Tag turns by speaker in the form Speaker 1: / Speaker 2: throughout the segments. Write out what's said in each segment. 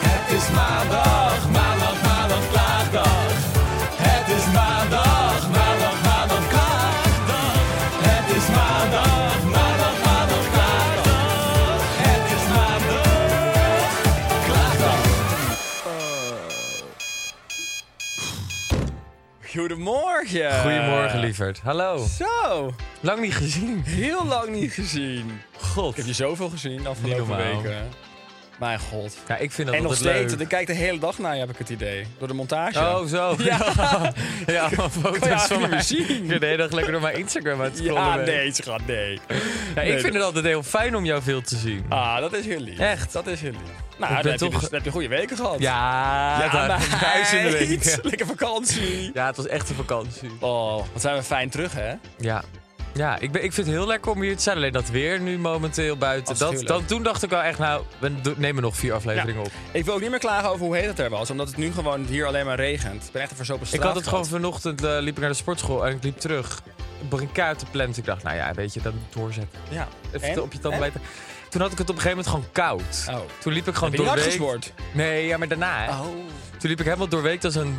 Speaker 1: Het is maandag, maandag, maandag, klaagdag. Het is maandag, maandag, maandag, klaagdag. Het is maandag, maandag, maandag, klaagdag. Het is maandag, klaagdag.
Speaker 2: Goedemorgen.
Speaker 3: Goedemorgen, lieverd. Hallo.
Speaker 2: Zo,
Speaker 3: Lang niet gezien.
Speaker 2: heel lang niet gezien. God. Ik heb je zoveel gezien afgelopen
Speaker 3: Niet normaal.
Speaker 2: weken. Mijn god.
Speaker 3: Ja, ik vind dat
Speaker 2: en nog
Speaker 3: altijd
Speaker 2: steeds, want
Speaker 3: leuk.
Speaker 2: ik kijk de hele dag naar je, heb ik het idee. Door de montage.
Speaker 3: Oh, zo.
Speaker 2: Ja.
Speaker 3: ja foto's
Speaker 2: eigenlijk
Speaker 3: van
Speaker 2: niet
Speaker 3: mij.
Speaker 2: meer zien.
Speaker 3: Ik ben de hele dag lekker door mijn Instagram aan het scrollen.
Speaker 2: ja,
Speaker 3: ben.
Speaker 2: nee, schat, nee.
Speaker 3: Ja, ik
Speaker 2: Nee,
Speaker 3: vind het altijd heel fijn om jou veel te zien.
Speaker 2: Ah, dat is heel lief.
Speaker 3: Echt.
Speaker 2: Dat is heel lief. Nou, dan,
Speaker 3: ben
Speaker 2: heb
Speaker 3: toch-
Speaker 2: je dus, dan heb je goede weken gehad.
Speaker 3: Ja,
Speaker 2: ja
Speaker 3: dat
Speaker 2: meid.
Speaker 3: thuis in de week.
Speaker 2: Lekker vakantie.
Speaker 3: Ja, het was echt een vakantie.
Speaker 2: Oh, wat zijn we fijn terug, hè?
Speaker 3: Ja. Ja, ik, ben, ik vind het heel lekker om hier te zijn. Alleen dat weer nu momenteel buiten. Dat,
Speaker 2: Afschuwelijk.
Speaker 3: dan, toen dacht ik wel echt, nou, we do- nemen nog vier afleveringen op.
Speaker 2: Ik wil ook niet meer klagen over hoe heet het er was, omdat het nu gewoon hier alleen maar regent. Ik ben echt een verzopen
Speaker 3: Ik
Speaker 2: straat.
Speaker 3: had het gewoon vanochtend, eh, liep ik naar de sportschool en ik liep terug. Ik begon kaart te plannen. Dus ik dacht, nou ja, weet je, dat moet doorzetten.
Speaker 2: Ja.
Speaker 3: Even
Speaker 2: En?
Speaker 3: op je tanden bijten. Toen had ik het op een gegeven moment gewoon koud.
Speaker 2: Oh.
Speaker 3: Toen liep ik gewoon
Speaker 2: Heb je nat
Speaker 3: doorweekt.
Speaker 2: gespoord?
Speaker 3: Nee, ja, maar daarna. hè.
Speaker 2: Oh.
Speaker 3: Toen liep ik helemaal doorweekt als een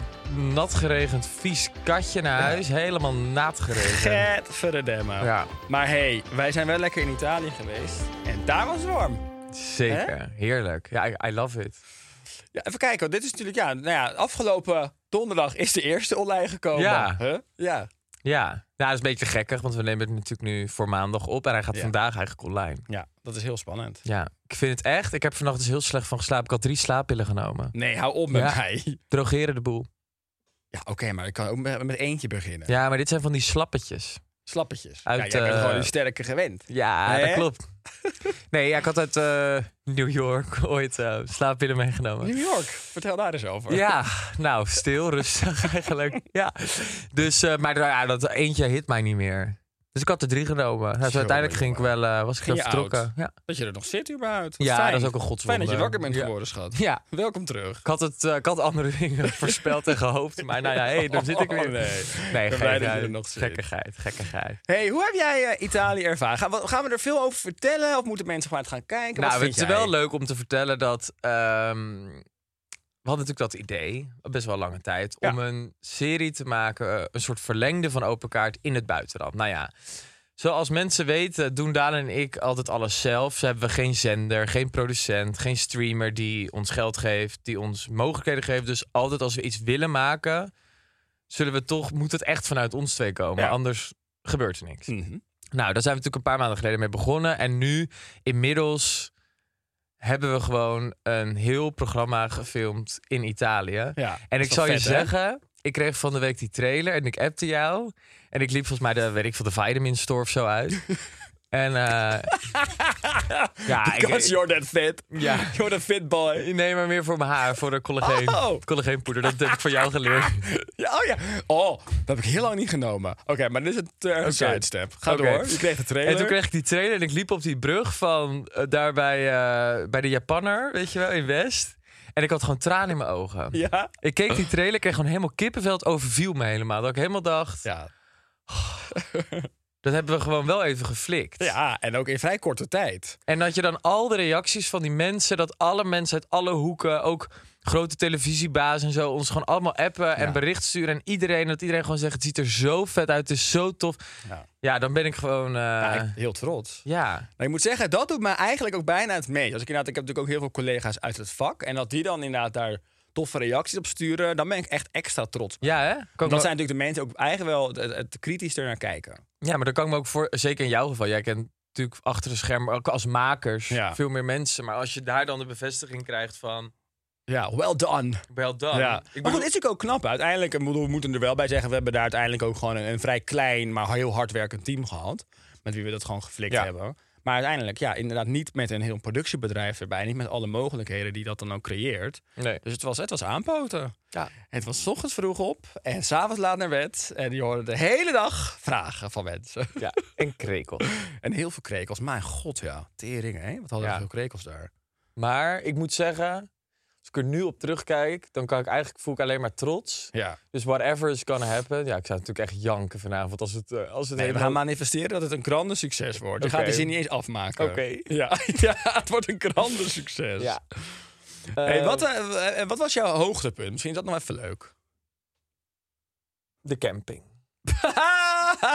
Speaker 3: nat geregend vies katje naar huis. Helemaal naat geregend.
Speaker 2: Get verdemme.
Speaker 3: Ja.
Speaker 2: Maar hey, wij zijn wel lekker in Italië geweest. En daar was het warm.
Speaker 3: Zeker. Heerlijk. Ja, I, I love it.
Speaker 2: Ja, even kijken, want dit is natuurlijk, ja, nou ja, afgelopen donderdag is de eerste online gekomen.
Speaker 3: Ja.
Speaker 2: Huh? Ja.
Speaker 3: Ja. Nou, dat is een beetje gekkig, want we nemen het natuurlijk nu voor maandag op. En hij gaat
Speaker 2: Ja.
Speaker 3: vandaag eigenlijk online.
Speaker 2: Ja, dat is heel spannend.
Speaker 3: Ja, ik vind het echt. Ik heb vannacht dus heel slecht van geslapen. Ik had drie slaappillen genomen.
Speaker 2: Nee, hou op met
Speaker 3: Ja.
Speaker 2: mij.
Speaker 3: Drogeren de boel.
Speaker 2: Ja, oké, maar ik kan ook met, met eentje beginnen.
Speaker 3: Ja, maar dit zijn van die slappetjes.
Speaker 2: Slappetjes.
Speaker 3: Uit,
Speaker 2: ja, jij bent
Speaker 3: eh,
Speaker 2: gewoon die sterke gewend.
Speaker 3: Ja,
Speaker 2: Hè?
Speaker 3: dat klopt. Nee, ja, ik had uit eh, New York ooit eh, slaappillen meegenomen.
Speaker 2: New York, vertel daar eens over.
Speaker 3: Ja, nou, stil, rustig eigenlijk. Ja. Dus, eh, maar ja, dat eentje hit mij niet meer. Dus ik had er drie genomen. Nou, dus
Speaker 2: Zo,
Speaker 3: uiteindelijk ging ik wel, eh, was ik
Speaker 2: Ging
Speaker 3: wel
Speaker 2: je
Speaker 3: vertrokken. Ja.
Speaker 2: Dat je er nog zit überhaupt. Wat
Speaker 3: Ja,
Speaker 2: fijn.
Speaker 3: dat is ook een godswonder.
Speaker 2: Fijn dat je wakker bent
Speaker 3: Ja.
Speaker 2: geworden, schat.
Speaker 3: ja,
Speaker 2: Welkom terug.
Speaker 3: ik had, het, eh, ik had andere dingen voorspeld en gehoopt. Maar nou ja, hé, hey, daar zit ik weer.
Speaker 2: Oh, nee.
Speaker 3: nee
Speaker 2: Ik ben blij dat je
Speaker 3: gekkigheid,
Speaker 2: er nog zit.
Speaker 3: Gekkigheid, gekkigheid.
Speaker 2: Hey, hoe heb jij eh, Italië ervaren? Gaan we, gaan we er veel over vertellen? Of moeten mensen gewoon gaan kijken? Wat
Speaker 3: Nou,
Speaker 2: vind
Speaker 3: het is
Speaker 2: jij?
Speaker 3: wel leuk om te vertellen dat... ehm, we hadden natuurlijk dat idee, al best wel lange tijd,
Speaker 2: Ja.
Speaker 3: om een serie te maken, eh, een soort verlengde van Open Kaart in het buitenland. Nou ja, zoals mensen weten, doen Daan en ik altijd alles zelf. Ze hebben we geen zender, geen producent, geen streamer die ons geld geeft, die ons mogelijkheden geeft. Dus altijd als we iets willen maken, zullen we toch, moet het echt vanuit ons twee komen.
Speaker 2: Ja.
Speaker 3: Anders gebeurt er niks.
Speaker 2: Mhm.
Speaker 3: Nou, daar zijn we natuurlijk een paar maanden geleden mee begonnen. En nu, inmiddels, hebben we gewoon een heel programma gefilmd in Italië.
Speaker 2: Ja,
Speaker 3: en
Speaker 2: is
Speaker 3: ik
Speaker 2: wel
Speaker 3: zal je
Speaker 2: vet, hè?
Speaker 3: zeggen, ik kreeg van de week die trailer en ik appte jou. En ik liep volgens mij de, weet ik veel, de Vitamin Store of zo uit. en eh ja,
Speaker 2: Because
Speaker 3: ik,
Speaker 2: you're that fit.
Speaker 3: Ja.
Speaker 2: You're the fit boy.
Speaker 3: ik neem maar meer voor mijn haar, voor de collageen,
Speaker 2: Oh.
Speaker 3: collageenpoeder. Dat heb ik van jou geleerd.
Speaker 2: Ja, oh ja. Oh, dat heb ik heel lang niet genomen. Oké, maar dit is een uh,
Speaker 3: Oké.
Speaker 2: sidestep. Ga
Speaker 3: Oké.
Speaker 2: door. Je kreeg de trailer.
Speaker 3: En toen kreeg ik die trailer en ik liep op die brug van eh, daar bij, eh, bij de Japanner, weet je wel, in West. En ik had gewoon tranen in mijn ogen.
Speaker 2: Ja?
Speaker 3: Ik keek die trailer, ik kreeg gewoon helemaal kippenveld, overviel me helemaal. Dat ik helemaal dacht,
Speaker 2: Ja.
Speaker 3: dat hebben we gewoon wel even geflikt.
Speaker 2: ja, en ook in vrij korte tijd.
Speaker 3: En dat je dan al de reacties van die mensen, dat alle mensen uit alle hoeken, ook grote televisiebaas en zo, ons gewoon allemaal appen en berichten sturen. En iedereen, dat iedereen gewoon zegt, het ziet er zo vet uit, het is zo tof.
Speaker 2: Ja.
Speaker 3: Ja, dan ben ik gewoon, eh,
Speaker 2: Ja, ik-
Speaker 3: ja,
Speaker 2: heel trots. Maar ik moet zeggen, dat doet me eigenlijk ook bijna het meest. Als ik, inderdaad, ik heb natuurlijk ook heel veel collega's uit het vak. En dat die dan inderdaad daar toffe reacties op sturen, dan ben ik echt extra trots.
Speaker 3: Ja, hè? Kan ik
Speaker 2: Want
Speaker 3: me-
Speaker 2: dat zijn natuurlijk de mensen ook eigenlijk wel het, het kritisch er naar kijken.
Speaker 3: Ja, maar dan kan ik me ook voor, zeker in jouw geval, jij kent natuurlijk achter de schermen ook als makers
Speaker 2: Ja.
Speaker 3: veel meer mensen. Maar als je daar dan de bevestiging krijgt van,
Speaker 2: Ja, well done.
Speaker 3: wel dan.
Speaker 2: Ja.
Speaker 3: Ik
Speaker 2: maar
Speaker 3: bedoel,
Speaker 2: goed, het is natuurlijk ook knap. Uiteindelijk, ik bedoel, we moeten er wel bij zeggen... we hebben daar uiteindelijk ook gewoon een, een vrij klein... maar heel hardwerkend team gehad. Met wie we dat gewoon geflikt
Speaker 3: Ja.
Speaker 2: hebben. Maar uiteindelijk, ja, inderdaad niet met een heel productiebedrijf erbij. Niet met alle mogelijkheden die dat dan ook creëert.
Speaker 3: nee.
Speaker 2: Dus het was, het was aanpoten.
Speaker 3: Ja.
Speaker 2: Het was 's ochtends vroeg op en s'avonds laat naar bed. En die hoorden de hele dag vragen van mensen.
Speaker 3: ja, en krekel.
Speaker 2: En heel veel krekels. Mijn god, ja. Tering, hè? Wat hadden
Speaker 3: Ja.
Speaker 2: we veel krekels daar.
Speaker 3: Maar ik moet zeggen, als ik er nu op terugkijk, dan kan ik eigenlijk, voel ik alleen maar trots.
Speaker 2: Ja.
Speaker 3: Dus whatever is gonna happen. Ja, ik zou natuurlijk echt janken vanavond als het, eh, als het
Speaker 2: Nee, we gaan
Speaker 3: helemaal-
Speaker 2: manifesteren dat het een krandensucces wordt. Je gaat die
Speaker 3: Oké.
Speaker 2: zin niet eens afmaken.
Speaker 3: Oké.
Speaker 2: Ja, ja, het wordt een krandensucces.
Speaker 3: Ja.
Speaker 2: Hey,
Speaker 3: Eh,
Speaker 2: wat, eh, eh, wat was jouw hoogtepunt? Misschien is dat nog even leuk.
Speaker 3: De camping.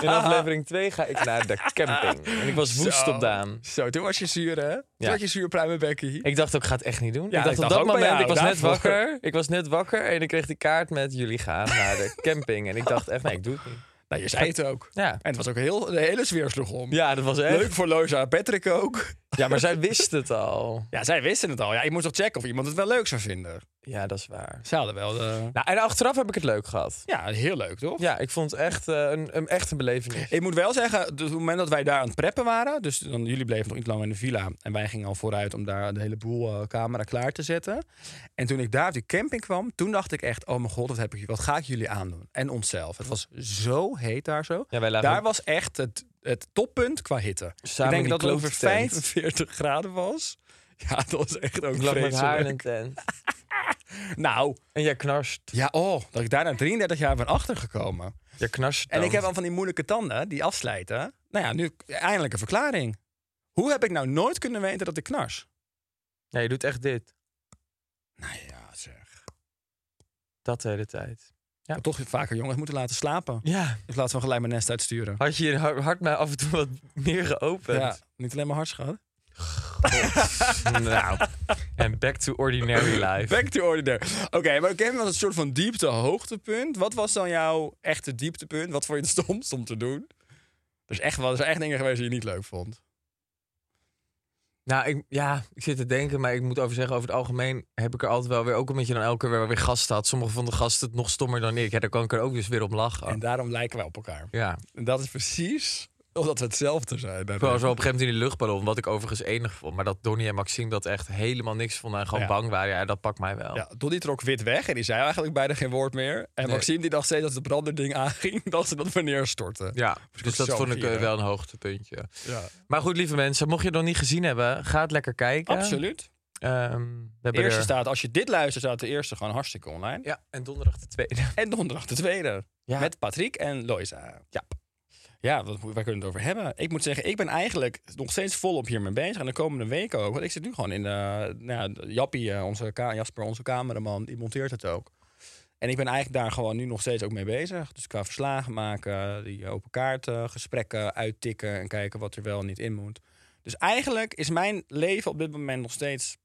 Speaker 3: In aflevering 2 ga ik naar de camping. En ik was woest
Speaker 2: Zo.
Speaker 3: op Daan.
Speaker 2: Zo, toen was je zuur, hè? Toen
Speaker 3: Ja.
Speaker 2: had je zuur pruimenbekkie.
Speaker 3: Ik dacht ook, ik ga het echt niet doen.
Speaker 2: Ja,
Speaker 3: ik dacht
Speaker 2: ik
Speaker 3: op
Speaker 2: dacht
Speaker 3: dat
Speaker 2: ook bij
Speaker 3: moment,
Speaker 2: jou,
Speaker 3: ik was net
Speaker 2: daarvoor.
Speaker 3: wakker. Ik was net wakker en ik kreeg die kaart met jullie gaan naar de camping. En ik dacht echt, nee, ik doe het niet.
Speaker 2: Nou, je zei het ook.
Speaker 3: Ja.
Speaker 2: En het was ook heel, de hele sfeer sloeg om.
Speaker 3: Ja, dat was echt.
Speaker 2: Leuk voor Loza en Patrick ook.
Speaker 3: Ja, maar zij wist het al.
Speaker 2: Ja, zij wisten het al. Ja, ik moest toch checken of iemand het wel leuk zou vinden.
Speaker 3: Ja, dat is waar.
Speaker 2: Ze hadden wel... de-
Speaker 3: Nou, en achteraf heb ik het leuk gehad.
Speaker 2: Ja, heel leuk, toch?
Speaker 3: Ja, ik vond het echt, eh, een, een, echt een belevenis.
Speaker 2: Ik moet wel zeggen, dus op het moment dat wij daar aan het preppen waren... dus dan, jullie bleven nog iets langer in de villa... en wij gingen al vooruit om daar de hele boel eh, camera klaar te zetten. En toen ik daar op die camping kwam, toen dacht ik echt... oh mijn god, wat, heb ik, wat ga ik jullie aandoen? En onszelf. Het was zo heet daar zo.
Speaker 3: Ja, wij lagen
Speaker 2: daar was echt het, het toppunt qua hitte.
Speaker 3: Samen
Speaker 2: ik
Speaker 3: in
Speaker 2: denk
Speaker 3: die
Speaker 2: dat het over
Speaker 3: klote tent.
Speaker 2: 45 graden was. Ja, dat was echt ook
Speaker 3: ik lag met haar in een
Speaker 2: vreselijk.
Speaker 3: tent.
Speaker 2: Nou,
Speaker 3: En jij knarst.
Speaker 2: ja, oh, dat ik daar na 33 jaar ben achtergekomen.
Speaker 3: Jij knarst
Speaker 2: En
Speaker 3: dan.
Speaker 2: ik heb al van die moeilijke tanden die afslijten. Nou ja, nu eindelijk een verklaring. Hoe heb ik nou nooit kunnen weten dat ik knars?
Speaker 3: Ja, je doet echt dit.
Speaker 2: Nou ja, zeg.
Speaker 3: Dat de hele tijd.
Speaker 2: Ik had toch vaker jongens moeten laten slapen.
Speaker 3: Ja,
Speaker 2: In plaats van gelijk mijn nest uitsturen.
Speaker 3: had je je hart, hart mij af en toe wat meer geopend.
Speaker 2: Ja, niet alleen maar hartschade.
Speaker 3: nou, en back to ordinary life.
Speaker 2: Back to ordinary. Oké, maar Kim was een soort van diepte-hoogtepunt. Wat was dan jouw echte dieptepunt? Wat vond je het stomst om te doen? Er, is echt, wel- er zijn echt dingen geweest die je niet leuk vond.
Speaker 3: Nou, ik, ja, ik zit te denken, maar ik moet over zeggen, over het algemeen heb ik er altijd wel weer, ook omdat je dan elke keer weer, weer gasten had. Sommige van de gasten het nog stommer dan ik. Ja, daar kan ik er ook dus weer om lachen.
Speaker 2: En daarom lijken wij op elkaar.
Speaker 3: ja,
Speaker 2: En dat is precies omdat we hetzelfde zijn.
Speaker 3: ik was wel op een gegeven moment in die luchtballon, wat ik overigens enig vond. Maar dat Donnie en Maxime dat echt helemaal niks vonden en gewoon
Speaker 2: Ja.
Speaker 3: bang waren, ja, dat pakt mij wel.
Speaker 2: Ja, Donnie trok wit weg en die zei eigenlijk bijna geen woord meer. En
Speaker 3: Nee.
Speaker 2: Maxime die dacht steeds dat het branderding aanging, dacht ze dat we neerstorten.
Speaker 3: Ja, dus dat
Speaker 2: Zo
Speaker 3: vond ik eh,
Speaker 2: gieren.
Speaker 3: wel een hoogtepuntje.
Speaker 2: Ja,
Speaker 3: Maar goed, lieve mensen, mocht je het nog niet gezien hebben, ga het lekker kijken.
Speaker 2: absoluut.
Speaker 3: Ehm, we
Speaker 2: De
Speaker 3: hebben
Speaker 2: eerste
Speaker 3: er-
Speaker 2: staat, als je dit luistert, staat de eerste gewoon hartstikke online.
Speaker 3: Ja, en donderdag de tweede.
Speaker 2: En donderdag de tweede.
Speaker 3: Ja.
Speaker 2: Met Patrick en Loisa. Ja. Ja, wat, moet- waar kunnen we het over hebben? Ik moet zeggen, ik ben eigenlijk nog steeds volop hiermee bezig. En de komende weken ook. Want ik zit nu gewoon in de... Nou, ja, Jappie, eh, onze ka- Jasper, onze cameraman, die monteert het ook. En ik ben eigenlijk daar gewoon nu nog steeds ook mee bezig. Dus qua verslagen maken, die open kaarten, gesprekken uittikken... en kijken wat er wel en niet in moet. Dus eigenlijk is mijn leven op dit moment nog steeds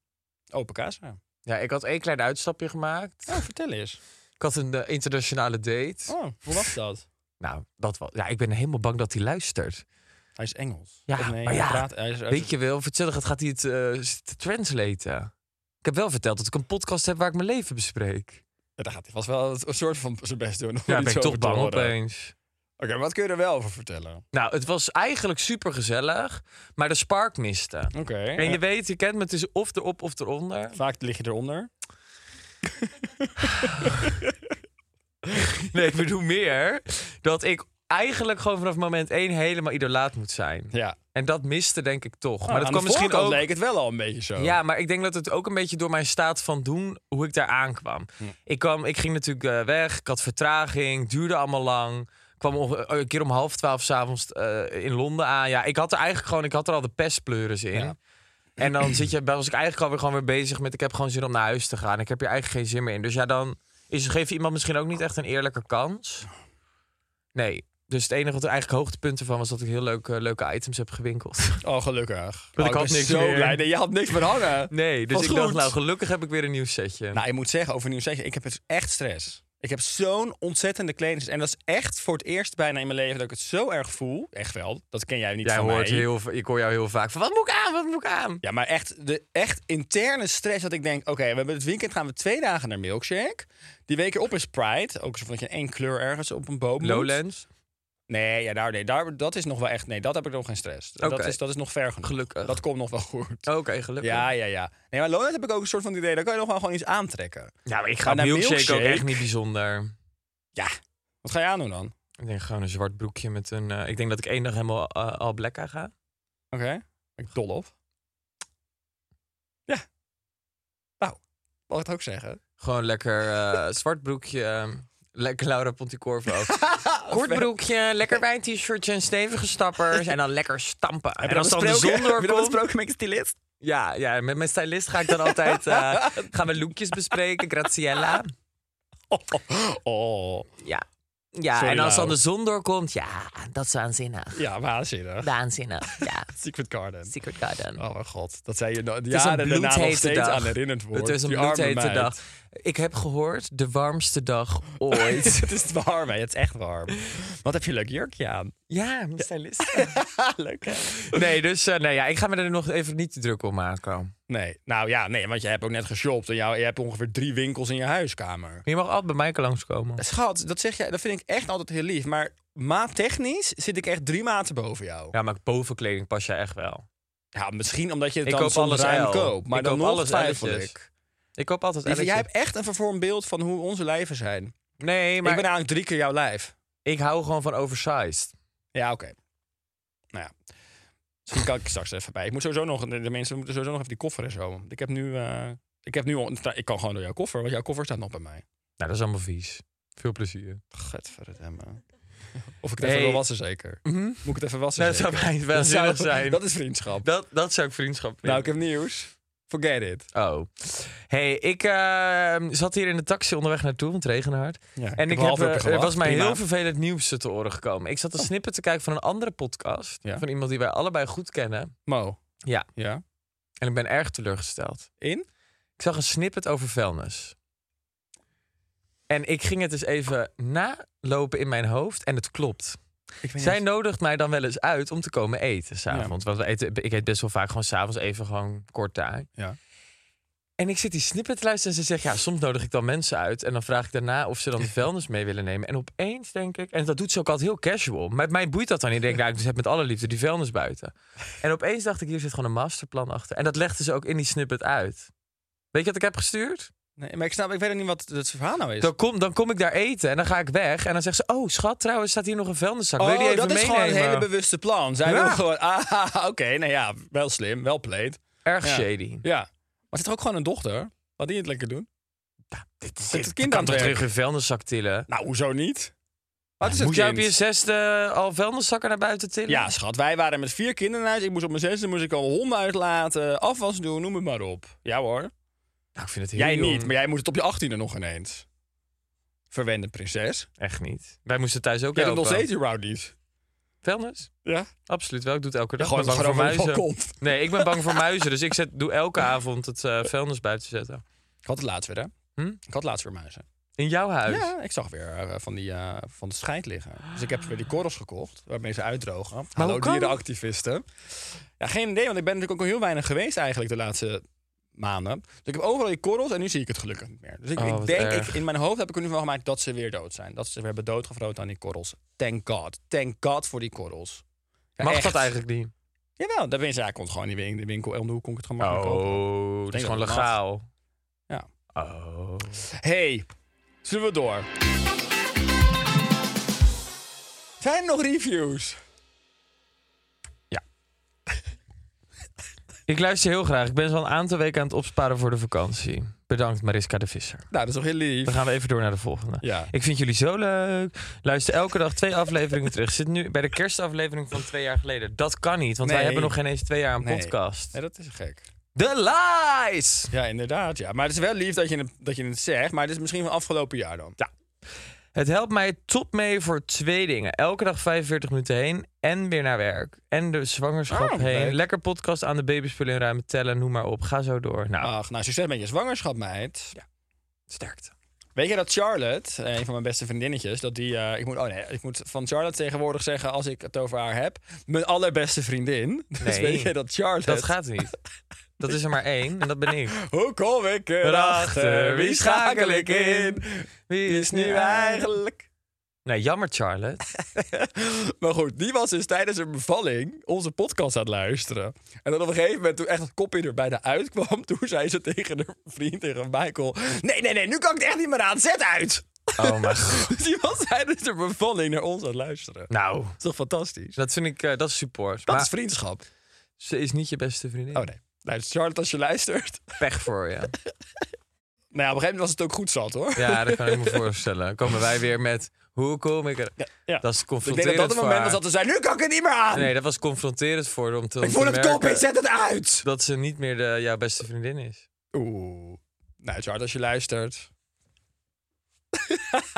Speaker 2: open kassa.
Speaker 3: Ja, ik had één klein uitstapje gemaakt.
Speaker 2: Oh, vertel eens.
Speaker 3: Ik had een eh, internationale date.
Speaker 2: Oh, hoe was dat?
Speaker 3: Nou, dat was. Ja, ik ben helemaal bang dat hij luistert.
Speaker 2: Hij is Engels.
Speaker 3: Ja,
Speaker 2: Of nee,
Speaker 3: maar
Speaker 2: hij
Speaker 3: ja,
Speaker 2: praat- hij is uit-
Speaker 3: Weet je wel, vertel het gaat hij het eh, zitten translaten. Ik heb wel verteld dat ik een podcast heb waar ik mijn leven bespreek.
Speaker 2: Ja, Daar gaat hij vast wel een soort van zijn best doen. om
Speaker 3: Ja,
Speaker 2: iets
Speaker 3: ben ik toch
Speaker 2: over te
Speaker 3: bang
Speaker 2: horen. Oké,
Speaker 3: opeens.
Speaker 2: maar wat kun je er wel over vertellen?
Speaker 3: Nou, het was eigenlijk super gezellig, maar de spark miste.
Speaker 2: Oké.
Speaker 3: En je weet, je kent me, het is of erop of eronder.
Speaker 2: Vaak lig je eronder.
Speaker 3: Nee, ik bedoel meer dat ik eigenlijk gewoon vanaf moment één helemaal idolaat moet zijn.
Speaker 2: Ja.
Speaker 3: En dat miste denk ik toch.
Speaker 2: Nou,
Speaker 3: maar dat
Speaker 2: aan
Speaker 3: kwam
Speaker 2: de
Speaker 3: misschien
Speaker 2: voorkant
Speaker 3: ook...
Speaker 2: leek het wel al een beetje zo.
Speaker 3: Ja, maar ik denk dat het ook een beetje door mijn staat van doen, hoe ik daar aankwam. Ik, kwam ik ging natuurlijk eh, weg, ik had vertraging, duurde allemaal lang. kwam om- eh, een keer om half twaalf s'avonds eh in Londen aan. Ja, ik had er eigenlijk gewoon, ik had er al de pestpleuris in.
Speaker 2: Ja.
Speaker 3: En dan zit je, was ik eigenlijk alweer gewoon weer bezig met, ik heb gewoon zin om naar huis te gaan. Ik heb hier eigenlijk geen zin meer in. Dus ja, dan is, geef je iemand misschien ook niet echt een eerlijke kans. Nee. Dus het enige wat er eigenlijk hoogtepunten van was dat ik heel leuke, leuke items heb gewinkeld.
Speaker 2: Oh, gelukkig.
Speaker 3: ik
Speaker 2: Oh,
Speaker 3: had
Speaker 2: ben
Speaker 3: niks
Speaker 2: zo
Speaker 3: meer.
Speaker 2: blij. Nee, je had niks meer hangen.
Speaker 3: Nee, dus
Speaker 2: Was
Speaker 3: ik dacht,
Speaker 2: goed.
Speaker 3: nou gelukkig heb ik weer een nieuw setje.
Speaker 2: Nou, ik moet zeggen, over nieuw zeggen, ik heb dus echt stress. Ik heb zo'n ontzettende kleding. En dat is echt voor het eerst bijna in mijn leven dat ik het zo erg voel. Echt wel. Dat ken jij niet
Speaker 3: Jij
Speaker 2: van
Speaker 3: hoort
Speaker 2: mij.
Speaker 3: heel, va- ik hoor jou heel vaak van, wat moet ik aan, wat moet ik aan?
Speaker 2: Ja, maar echt, de, echt interne stress dat ik denk... oké, we hebben het weekend gaan we twee dagen naar Milkshake. Die week op is Pride. Ook zo van dat je in één kleur ergens op een boom moet.
Speaker 3: Lowlands,
Speaker 2: Nee, ja, daar, nee daar, dat is nog wel echt... Nee, dat heb ik nog geen stress. Dat,
Speaker 3: Oké.
Speaker 2: is, dat is nog ver genoeg.
Speaker 3: gelukkig. Oh,
Speaker 2: Dat komt nog wel goed.
Speaker 3: Oké, gelukkig.
Speaker 2: Ja, ja, ja. Nee, maar Lowlands heb ik ook een soort van idee... daar kan je nog wel gewoon iets aantrekken.
Speaker 3: Ja, maar ik
Speaker 2: Maar
Speaker 3: ga
Speaker 2: naar
Speaker 3: milkshake, ook
Speaker 2: milkshake-
Speaker 3: echt niet bijzonder.
Speaker 2: Ja, wat ga je aan doen dan?
Speaker 3: Ik denk gewoon een zwart broekje met een... eh, ik denk dat ik één dag helemaal eh, all black aan ga.
Speaker 2: Oké, ik dol op. Ja. Nou, mag ik het ook zeggen?
Speaker 3: Gewoon lekker eh, zwart broekje, eh, lekker Laura Ponticorvo. Kort broekje, lekker bij een t-shirtje en stevige stappers. En dan lekker stampen. en als dan de zon
Speaker 2: Heb je dat
Speaker 3: doorkomt...
Speaker 2: besproken met je stylist?
Speaker 3: Ja, ja, met mijn stylist ga ik dan altijd... eh, gaan we lookjes bespreken, Graciella.
Speaker 2: Oh, oh, oh.
Speaker 3: Ja. Ja,
Speaker 2: Sorry,
Speaker 3: en als dan
Speaker 2: Lau.
Speaker 3: de zon doorkomt, ja, dat is waanzinnig.
Speaker 2: Ja, waanzinnig.
Speaker 3: Waanzinnig, ja.
Speaker 2: Secret Garden.
Speaker 3: Nou. Secret Garden.
Speaker 2: Oh mijn god, dat zij je no-
Speaker 3: Het is een
Speaker 2: jaren daarna nog
Speaker 3: bloedhete
Speaker 2: steeds
Speaker 3: dag.
Speaker 2: aan herinnerd wordt.
Speaker 3: Het is een
Speaker 2: Die arme
Speaker 3: bloedhete
Speaker 2: meid.
Speaker 3: dag. Ik heb gehoord, de warmste dag ooit.
Speaker 2: het is warm, hè? Het is echt warm. Wat heb je een leuk jurkje aan?
Speaker 3: ja, mijn stylist.
Speaker 2: leuk, hè?
Speaker 3: Nee, dus eh, nee, ja, ik ga me er nog even niet te druk om maken.
Speaker 2: Nee, nou ja, nee, want je hebt ook net geshopt en jou, je hebt ongeveer drie winkels in je huiskamer.
Speaker 3: Je mag altijd bij mij langskomen.
Speaker 2: Schat, dat zeg jij, dat vind ik echt altijd heel lief. Maar maattechnisch zit ik echt drie maten boven jou. Ja,
Speaker 3: Ja, maar bovenkleding pas jij echt wel.
Speaker 2: misschien omdat je het
Speaker 3: Ik
Speaker 2: dan
Speaker 3: koop
Speaker 2: soms
Speaker 3: alles
Speaker 2: ruim
Speaker 3: L.
Speaker 2: koopt. Maar
Speaker 3: Ik
Speaker 2: dan
Speaker 3: koop
Speaker 2: nog
Speaker 3: alles
Speaker 2: twijfel
Speaker 3: L'tjes.
Speaker 2: ik.
Speaker 3: Ik koop altijd
Speaker 2: Lieve,
Speaker 3: elke-
Speaker 2: jij hebt echt een vervormd beeld van hoe onze lijven zijn.
Speaker 3: Nee, maar
Speaker 2: Ik
Speaker 3: ik,
Speaker 2: ben eigenlijk drie keer jouw lijf.
Speaker 3: hou gewoon van oversized.
Speaker 2: Ja, oké. Nou ja. Misschien kan ik er straks even bij. Ik moet sowieso nog, de de mensen moeten sowieso nog even die koffer en zo. Ik heb nu, eh, ik heb nu, al- ik kan gewoon door jouw koffer, want jouw koffer staat nog bij mij.
Speaker 3: Nou, dat is allemaal vies. Veel plezier.
Speaker 2: Godverdamme. Of ik het even
Speaker 3: Hey.
Speaker 2: wil wassen zeker. Moet ik het even wassen
Speaker 3: Nou, dat zou
Speaker 2: zeker?
Speaker 3: bijna waanzinnig
Speaker 2: zou-
Speaker 3: zijn.
Speaker 2: Dat is vriendschap.
Speaker 3: Dat, dat zou ik vriendschap
Speaker 2: Nou, ik heb nieuws. Forget it.
Speaker 3: Oh. hey, ik eh, zat hier in de taxi onderweg naartoe, want het regende hard.
Speaker 2: Ja, ik heb
Speaker 3: en ik
Speaker 2: een half
Speaker 3: heb,
Speaker 2: uur
Speaker 3: eh, er
Speaker 2: gewacht.
Speaker 3: was mij
Speaker 2: Prima. Oh.
Speaker 3: heel vervelend nieuws te oren gekomen. Ik zat een snippet te kijken van een andere podcast.
Speaker 2: Ja.
Speaker 3: Van iemand die wij allebei goed kennen.
Speaker 2: Mo.
Speaker 3: Ja.
Speaker 2: Ja.
Speaker 3: En ik ben erg teleurgesteld.
Speaker 2: In?
Speaker 3: Ik zag een snippet over vuilnis. En ik ging het dus even nalopen in mijn hoofd. En het klopt.
Speaker 2: Ik ben
Speaker 3: Zij nodigt mij dan wel eens uit om te komen eten s'avonds. Want we eten, ik eet best wel vaak gewoon s'avonds even gewoon kort daar.
Speaker 2: Ja.
Speaker 3: En ik zit die snippet te luisteren en ze zegt... ja, soms nodig ik dan mensen uit... en dan vraag ik daarna of ze dan de vuilnis mee willen nemen. En opeens denk ik... en dat doet ze ook altijd heel casual. Maar mij boeit dat dan niet. Ik denk, nou, ik heb met alle liefde die vuilnis buiten. En opeens dacht ik, hier zit gewoon een masterplan achter. En dat legde ze ook in die snippet uit. Weet je wat ik heb gestuurd?
Speaker 2: Nee, maar ik snap, ik weet ook niet wat het verhaal nou is.
Speaker 3: Dan kom, dan kom ik daar eten en dan ga ik weg. En dan zegt ze, oh schat, trouwens staat hier nog een vuilniszak. Wil je
Speaker 2: Oh,
Speaker 3: die even
Speaker 2: dat is
Speaker 3: meenemen?
Speaker 2: gewoon een hele bewuste plan. Zij
Speaker 3: Ja.
Speaker 2: wil gewoon, ah, oké, nou ja, wel slim, wel played.
Speaker 3: Erg
Speaker 2: Ja.
Speaker 3: shady.
Speaker 2: Ja. Maar zit er ook gewoon een dochter? Wat die het lekker doen?
Speaker 3: Dit
Speaker 2: Zit het kind aan
Speaker 3: kan
Speaker 2: het
Speaker 3: toch
Speaker 2: werk?
Speaker 3: terug een vuilniszak tillen?
Speaker 2: Nou, hoezo niet? Wat is het
Speaker 3: Moet jij op
Speaker 2: kind?
Speaker 3: je zesde eh, al vuilniszakken naar buiten tillen?
Speaker 2: Ja, schat, wij waren met vier kinderen in huis. Ik moest op mijn zesde moest ik al honden uitlaten, afwas doen, noem het maar op. Ja hoor.
Speaker 3: Nou, ik vind het heel
Speaker 2: Jij
Speaker 3: jong.
Speaker 2: niet, maar jij moet het op je achttiende nog ineens. Verwende prinses.
Speaker 3: Echt niet. Wij moesten thuis ook
Speaker 2: Jij doet nog
Speaker 3: helpen.
Speaker 2: steeds die rowdies.
Speaker 3: Vuilnis?
Speaker 2: Ja?
Speaker 3: Absoluut wel. Ik doe het elke
Speaker 2: Je
Speaker 3: dag.
Speaker 2: gooit
Speaker 3: ik ben
Speaker 2: het
Speaker 3: bang
Speaker 2: gewoon
Speaker 3: voor
Speaker 2: over het
Speaker 3: muizen.
Speaker 2: balkon.
Speaker 3: Nee, ik ben bang voor muizen. Dus ik zet, doe elke avond het eh, vuilnis buiten zetten.
Speaker 2: Ik had het laatst weer, hè?
Speaker 3: Hm?
Speaker 2: Ik had laatst weer muizen.
Speaker 3: In jouw huis?
Speaker 2: Ja, ik zag weer eh, van, die, eh, van de scheid liggen. Dus ik heb weer die korrels gekocht, waarmee ze uitdrogen. Hallo
Speaker 3: hoe kan-
Speaker 2: dierenactivisten. Ja, geen idee, want ik ben natuurlijk ook heel weinig geweest eigenlijk de laatste maanden. Dus ik heb overal die korrels en nu zie ik het gelukkig niet meer. Dus ik,
Speaker 3: Oh,
Speaker 2: ik
Speaker 3: wat
Speaker 2: denk, ik,
Speaker 3: erg.
Speaker 2: in mijn hoofd heb ik er nu van gemaakt dat ze weer dood zijn. Dat ze weer hebben doodgevroten aan die korrels. Thank God. Thank God voor die korrels. Ja,
Speaker 3: Mag
Speaker 2: echt.
Speaker 3: dat eigenlijk niet?
Speaker 2: Jawel, daar ben je, ja, ik kon het gewoon in de win- de winkel om de hoek kon ik het gewoon makkelijk kopen.
Speaker 3: Oh, dat
Speaker 2: denk
Speaker 3: is gewoon
Speaker 2: dat het
Speaker 3: legaal.
Speaker 2: Ja.
Speaker 3: Oh.
Speaker 2: Hey, zullen we door? Zijn er nog reviews?
Speaker 3: Ik luister heel graag. Ik ben al een aantal weken aan het opsparen voor de vakantie. Bedankt Mariska de Visser.
Speaker 2: Nou, dat is toch heel lief.
Speaker 3: Dan gaan we even door naar de volgende.
Speaker 2: Ja.
Speaker 3: Ik vind jullie zo leuk. Luister elke dag twee afleveringen terug. Zit nu bij de kerstaflevering van twee jaar geleden. Dat kan niet, want wij
Speaker 2: Nee.
Speaker 3: hebben nog geen eens twee jaar een
Speaker 2: Nee.
Speaker 3: podcast.
Speaker 2: Nee, dat is gek.
Speaker 3: The lies!
Speaker 2: Ja, inderdaad. Ja. Maar het is wel lief dat je het, dat je het zegt. Maar het is misschien van afgelopen jaar dan. Ja.
Speaker 3: Het helpt mij top mee voor twee dingen. Elke dag 45 minuten heen en weer naar werk. En de zwangerschap
Speaker 2: Ah,
Speaker 3: heen.
Speaker 2: leuk.
Speaker 3: Lekker podcast aan de babyspullen inruimen, tellen, noem maar op. Ga zo door. Nou,
Speaker 2: Ach, nou, succes met je zwangerschap, meid.
Speaker 3: sterkte.
Speaker 2: Weet je dat Charlotte, eh, een van mijn beste vriendinnetjes, dat die. eh, ik, moet, oh nee, ik moet van Charlotte tegenwoordig zeggen, als ik het over haar heb, mijn allerbeste vriendin. Dus
Speaker 3: Nee.
Speaker 2: weet je dat Charlotte.
Speaker 3: Dat gaat niet. Dat is er maar één en dat ben ik.
Speaker 2: Hoe kom ik erachter? Wie schakel ik in?
Speaker 3: Wie
Speaker 2: Wie is nu eigenlijk.
Speaker 3: Nee, Eh, nou, jammer Charlotte.
Speaker 2: Maar goed, die was dus tijdens een bevalling onze podcast aan het luisteren. En dan op een gegeven moment, toen echt het kopje er bijna uitkwam, toen zei ze tegen haar vriend, tegen Michael: Nee, nee, nee, nu kan ik het echt niet meer aan, zet uit!
Speaker 3: Oh mijn god.
Speaker 2: Dus die was tijdens de bevalling naar ons aan het luisteren.
Speaker 3: Nou,
Speaker 2: Dat is toch fantastisch?
Speaker 3: dat vind ik, eh, dat is support.
Speaker 2: Dat
Speaker 3: maar
Speaker 2: is vriendschap.
Speaker 3: ze is niet je beste vriendin.
Speaker 2: Oh nee. Nou, Charlotte, als je luistert.
Speaker 3: Pech voor je.
Speaker 2: Nou, ja, op een gegeven moment was het ook goed zat hoor.
Speaker 3: Ja, dat kan ik me voorstellen. Komen wij weer met, hoe kom ik er...
Speaker 2: Ja. Dus
Speaker 3: Dat is
Speaker 2: ik denk dat
Speaker 3: confronterend
Speaker 2: dat het
Speaker 3: voor
Speaker 2: moment was
Speaker 3: haar.
Speaker 2: dat ze zei: Nu kan ik het niet meer aan!
Speaker 3: Nee, dat was confronterend voor haar om te, om
Speaker 2: ik
Speaker 3: te
Speaker 2: voel het
Speaker 3: merken
Speaker 2: kopje, zet het uit!
Speaker 3: dat ze niet meer de, jouw beste vriendin is.
Speaker 2: Oeh. Nou, Charlotte, als je luistert.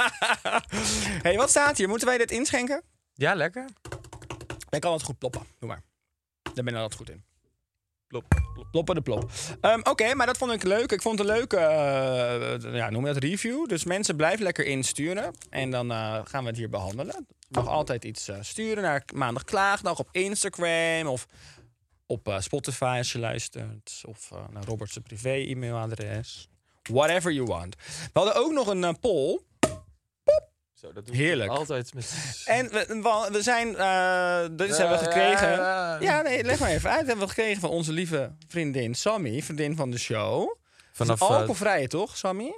Speaker 2: hey, wat staat hier? Moeten wij dit inschenken?
Speaker 3: Ja, lekker.
Speaker 2: Jij kan het goed ploppen. Doe maar. Daar ben ik altijd goed in. Plop, plop, ploppen de plop. Ehm, Oké, maar dat vond ik leuk. Ik vond het een leuke, eh, ja, noem je dat, review. Dus mensen, blijf lekker insturen. En dan eh, gaan we het hier behandelen. Je mag altijd iets eh, sturen naar Maandag Klaagdag op Instagram... of op eh, Spotify als je luistert. Of eh, naar Robert's privé-e-mailadres. Whatever you want. We hadden ook nog een eh, poll...
Speaker 3: Zo, dat
Speaker 2: Heerlijk.
Speaker 3: Altijd met...
Speaker 2: En we, we- we zijn, eh dit hebben we gekregen. Ja, nee, leg maar even uit. Hebben we gekregen van onze lieve vriendin Sammy, vriendin van de show.
Speaker 3: Vanaf, eh,
Speaker 2: Alcoholvrije, toch, Sammy?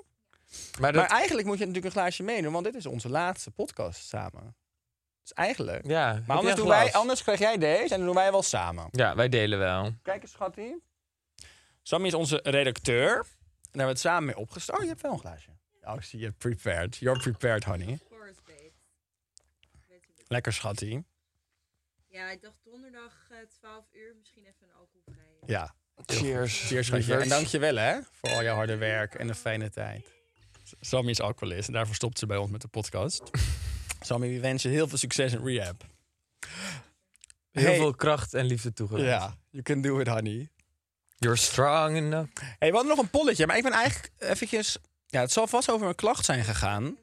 Speaker 3: maar dat,
Speaker 2: Maar eigenlijk moet je natuurlijk een glaasje meedoen, want dit is onze laatste podcast samen. Dus eigenlijk.
Speaker 3: ja,
Speaker 2: maar
Speaker 3: heb jij
Speaker 2: anders, doen
Speaker 3: glas?
Speaker 2: wij, anders krijg jij deze en dan doen wij wel samen.
Speaker 3: Ja, wij delen wel.
Speaker 2: Kijk eens, schatje. Sammy is onze redacteur. En daar hebben we het samen mee opgestart. Oh, je hebt wel een glaasje. Oh, ik zie je prepared. You're prepared, honey.
Speaker 4: Chorus Babes. Weet je wel.
Speaker 2: Lekker, schatje.
Speaker 4: Ja, ik dacht donderdag eh, 12 uur misschien even een alcoholvrije.
Speaker 2: Ja.
Speaker 3: Cheers.
Speaker 2: Cheers, schatje. En dank je wel, hè, voor al je harde werk en de fijne tijd. Sammy is alcoholist en daarvoor stopt ze bij ons met de podcast. Sammy, we wensen je heel veel succes in rehab.
Speaker 3: Heel
Speaker 2: Hey.
Speaker 3: veel kracht en liefde toegewijd.
Speaker 2: Ja, you can do it, honey.
Speaker 3: You're strong enough.
Speaker 2: hey, we hadden nog een polletje, maar ik ben eigenlijk eventjes... Ja, het zal vast over een klacht zijn gegaan.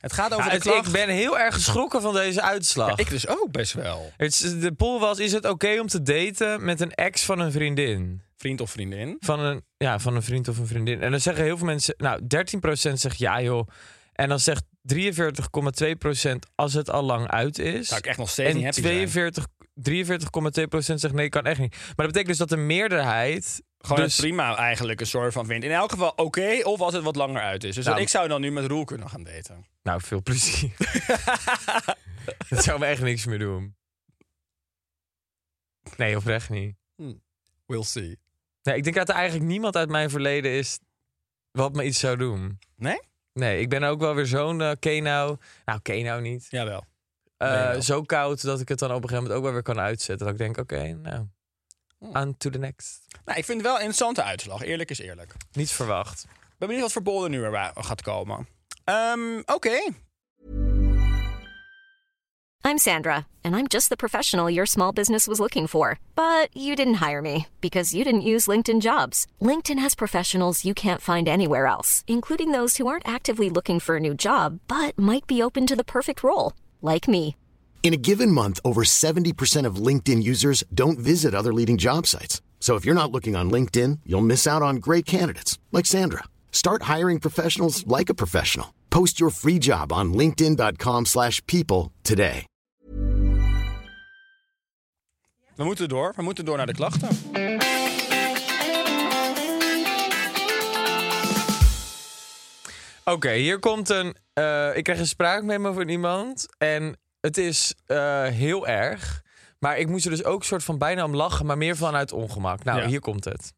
Speaker 2: Het gaat over
Speaker 3: Ja,
Speaker 2: de
Speaker 3: het-
Speaker 2: klacht.
Speaker 3: ik ben heel erg geschrokken van deze uitslag.
Speaker 2: Ja, ik dus ook best wel.
Speaker 3: Het is- de poll was, is het oké om te daten met een ex van een vriendin?
Speaker 2: Vriend of vriendin.
Speaker 3: Van een, ja, van een vriend of een vriendin. En dan zeggen heel veel mensen, nou, 13% zegt ja joh. En dan zegt 43,2% als het al lang uit is.
Speaker 2: Zou ik echt nog steeds niet
Speaker 3: en
Speaker 2: happy
Speaker 3: 42, 43,2% zegt nee, kan echt niet. Maar dat betekent dus dat de meerderheid...
Speaker 2: Gewoon
Speaker 3: dus,
Speaker 2: het prima eigenlijk een soort van vindt. In elk geval oké, of als het wat langer uit is. Dus
Speaker 3: Nou,
Speaker 2: ik zou dan nu met Roel kunnen gaan daten.
Speaker 3: Nou, veel plezier. dat zou me echt niks meer doen. Nee, oprecht niet.
Speaker 2: We'll see.
Speaker 3: Nee, ik denk dat er eigenlijk niemand uit mijn verleden is wat me iets zou doen.
Speaker 2: Nee?
Speaker 3: Nee, ik ben ook wel weer zo'n eh, Kenau. Nou, Kenau niet.
Speaker 2: Jawel.
Speaker 3: Eh,
Speaker 2: Nee, nou. wel.
Speaker 3: zo koud dat ik het dan op een gegeven moment ook wel weer kan uitzetten. Dat ik denk, oké, nou,
Speaker 2: Hmm.
Speaker 3: on to the next.
Speaker 2: Nou, ik vind het wel een interessante uitslag. Eerlijk is eerlijk. Ik
Speaker 3: Niet verwacht.
Speaker 2: ben benieuwd wat voor bol er nu weer wa- gaat komen. Ehm, Oké.
Speaker 5: I'm Sandra, and I'm just the professional your small business was looking for. But you didn't hire me because you didn't use LinkedIn jobs. LinkedIn has professionals you can't find anywhere else, including those who aren't actively looking for a new job but might be open to the perfect role, like me.
Speaker 6: In a given month, over 70% of LinkedIn users don't visit other leading job sites. So if you're not looking on LinkedIn, you'll miss out on great candidates like Sandra. Start hiring professionals like a professional. Post your free job on linkedin.com/people slash people today.
Speaker 2: We moeten door. We moeten door naar de klachten.
Speaker 3: Oké, hier komt een... eh, ik krijg een spraakmemo van iemand. En het is eh, heel erg. Maar ik moest er dus ook soort van bijna om lachen, maar meer vanuit ongemak. Nou,
Speaker 2: Ja.
Speaker 3: hier komt het.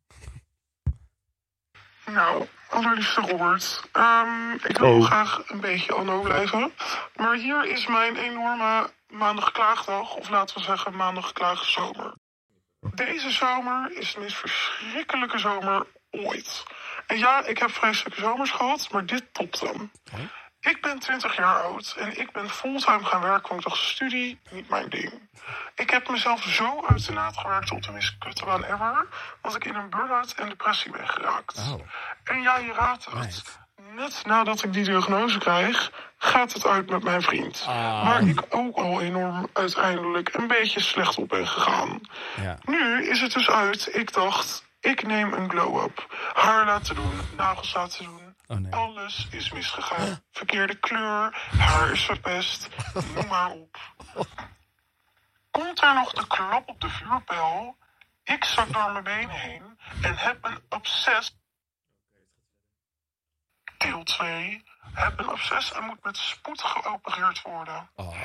Speaker 7: Nou, allerliefste Robert. ehm, ik wil graag een beetje anno blijven. Maar hier is mijn enorme maandag klaagdag. Of laten we zeggen maandag klaagzomer. Deze zomer is de meest verschrikkelijke zomer ooit. En ja, ik heb vreselijke zomers gehad, maar dit topt hem. Ik ben 20 jaar oud en ik ben fulltime gaan werken, want ik dacht, studie, niet mijn ding. Ik heb mezelf zo uit de naad gewerkt op de meest kutte baan ever, dat ik in een burn-out en depressie ben geraakt. En ja, je raadt het. Net nadat ik die diagnose krijg, gaat het uit met mijn vriend. Waar ik ook al enorm uiteindelijk een beetje slecht op ben gegaan.
Speaker 2: Ja.
Speaker 7: Nu is het dus uit. Ik dacht, ik neem een glow-up. Haar laten doen, nagels laten doen.
Speaker 2: nee.
Speaker 7: Alles is misgegaan. Verkeerde kleur, haar is verpest. Noem maar op. Komt er nog de klap op de vuurpijl? Ik zak door mijn been heen en heb een obsess. Deel 2. Heb een obsess en moet met spoed geopereerd worden.
Speaker 2: Oh,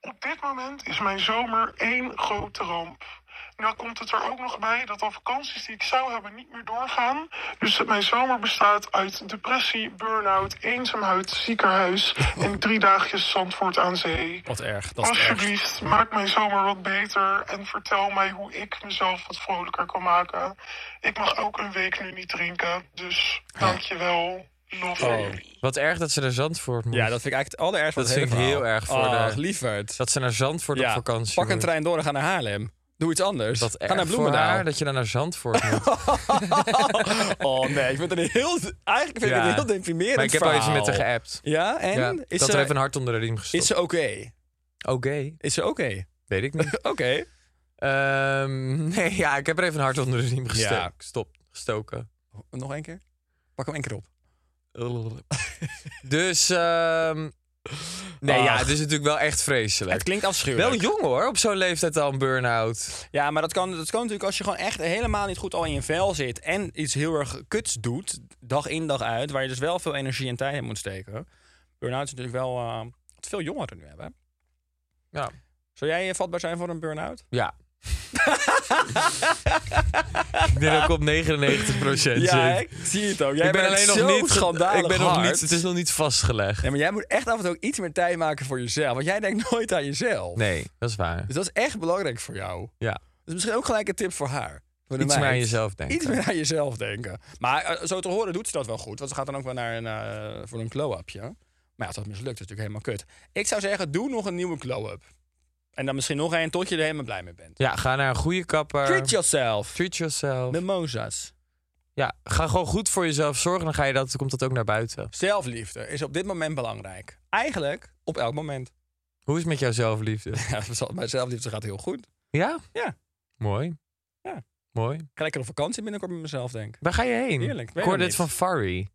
Speaker 7: Op dit moment is mijn zomer één grote ramp. Nou komt het er ook nog bij dat al vakanties die ik zou hebben niet meer doorgaan. Dus dat mijn zomer bestaat uit depressie, burn-out, eenzaamheid, ziekenhuis en drie dagjes Zandvoort aan zee.
Speaker 2: Wat erg. Dat is het ergst.
Speaker 7: Alsjeblieft, maak mijn zomer wat beter en vertel mij hoe ik mezelf wat vrolijker kan maken. Ik mag ook een week nu niet drinken, dus dankjewel. Love
Speaker 2: Oh.
Speaker 7: jullie.
Speaker 3: Wat erg dat ze naar Zandvoort moet.
Speaker 2: Ja, dat vind ik eigenlijk het allerergste. van het
Speaker 3: Dat vind
Speaker 2: hele
Speaker 3: ik heel
Speaker 2: verhaal.
Speaker 3: erg voor
Speaker 2: Ach,
Speaker 3: de-
Speaker 2: lieverd.
Speaker 3: Dat ze naar Zandvoort op vakantie
Speaker 2: Pak een
Speaker 3: moet.
Speaker 2: trein door en ga naar Haarlem. Doe iets anders.
Speaker 3: Dat
Speaker 2: ga naar
Speaker 3: erg voor
Speaker 2: Bloemendaal.
Speaker 3: haar dat je dan naar Zandvoort moet.
Speaker 2: oh nee, ik vind het een heel... Eigenlijk vind ik
Speaker 3: Ja.
Speaker 2: het een heel deprimerend
Speaker 3: maar ik heb al
Speaker 2: verhaal.
Speaker 3: even met haar geappt.
Speaker 2: Ja, en?
Speaker 3: Ja,
Speaker 2: is
Speaker 3: dat
Speaker 2: ze,
Speaker 3: er even een hart onder de riem gestopt.
Speaker 2: is ze oké?
Speaker 3: Oké,
Speaker 2: Is ze oké?
Speaker 3: weet ik niet.
Speaker 2: Oké.
Speaker 3: Ehm, nee, ja, ik heb er even een hart onder de riem gesto-
Speaker 2: Ja.
Speaker 3: gestopt, gestoken.
Speaker 2: Nog één keer? Pak hem één keer op.
Speaker 3: Dus, ehm, nee, ja,
Speaker 2: Ach.
Speaker 3: het is natuurlijk wel echt vreselijk.
Speaker 2: Het klinkt afschuwelijk.
Speaker 3: wel jong hoor, op zo'n leeftijd al een burn-out.
Speaker 2: Ja, maar dat kan, dat kan natuurlijk als je gewoon echt helemaal niet goed al in je vel zit. en iets heel erg kuts doet, dag in dag uit. waar je dus wel veel energie en tijd in moet steken. Burn-out is natuurlijk wel. eh, wat veel jongeren nu hebben.
Speaker 3: Ja.
Speaker 2: Zou jij eh, vatbaar zijn voor een burn-out?
Speaker 3: ja. ik denk dat ik op 99 procent
Speaker 2: Ja,
Speaker 3: zit.
Speaker 2: ik zie het ook. Jij
Speaker 3: ik ben
Speaker 2: bent
Speaker 3: alleen
Speaker 2: zo
Speaker 3: nog niet...
Speaker 2: schandalig
Speaker 3: Ik ben nog
Speaker 2: hard.
Speaker 3: niet... Het is nog niet vastgelegd.
Speaker 2: Nee, maar jij moet echt af en toe ook iets meer tijd maken voor jezelf. Want jij denkt nooit aan jezelf.
Speaker 3: Nee, dat is waar.
Speaker 2: Dus dat is echt belangrijk voor jou.
Speaker 3: Ja.
Speaker 2: Dat is misschien ook gelijk een tip voor haar. Voor de
Speaker 3: Iets meer
Speaker 2: meid.
Speaker 3: aan jezelf denken.
Speaker 2: Iets meer aan jezelf denken. Maar eh, zo te horen doet ze dat wel goed. Want ze gaat dan ook wel naar een, eh, voor een glow-upje. Maar ja, als dat mislukt, is het natuurlijk helemaal kut. Ik zou zeggen, doe nog een nieuwe glow-up. En dan misschien nog één tot je er helemaal blij mee bent.
Speaker 3: Ja, ga naar een goede kapper.
Speaker 2: Treat yourself.
Speaker 3: Treat yourself.
Speaker 2: Mimosas.
Speaker 3: Ja, ga gewoon goed voor jezelf zorgen. Dan ga je dat, komt dat ook naar buiten.
Speaker 2: Zelfliefde is op dit moment belangrijk. Eigenlijk op elk moment.
Speaker 3: Hoe is het met jouw zelfliefde?
Speaker 2: Ja, mijn zelfliefde gaat heel goed.
Speaker 3: Ja?
Speaker 2: Ja.
Speaker 3: Mooi.
Speaker 2: Ja.
Speaker 3: Mooi.
Speaker 2: Ik ga lekker op vakantie binnenkort met mezelf, denk ik.
Speaker 3: Waar ga je heen?
Speaker 2: Heerlijk, weet
Speaker 3: Ik hoorde
Speaker 2: nog
Speaker 3: dit
Speaker 2: niet.
Speaker 3: van Farry.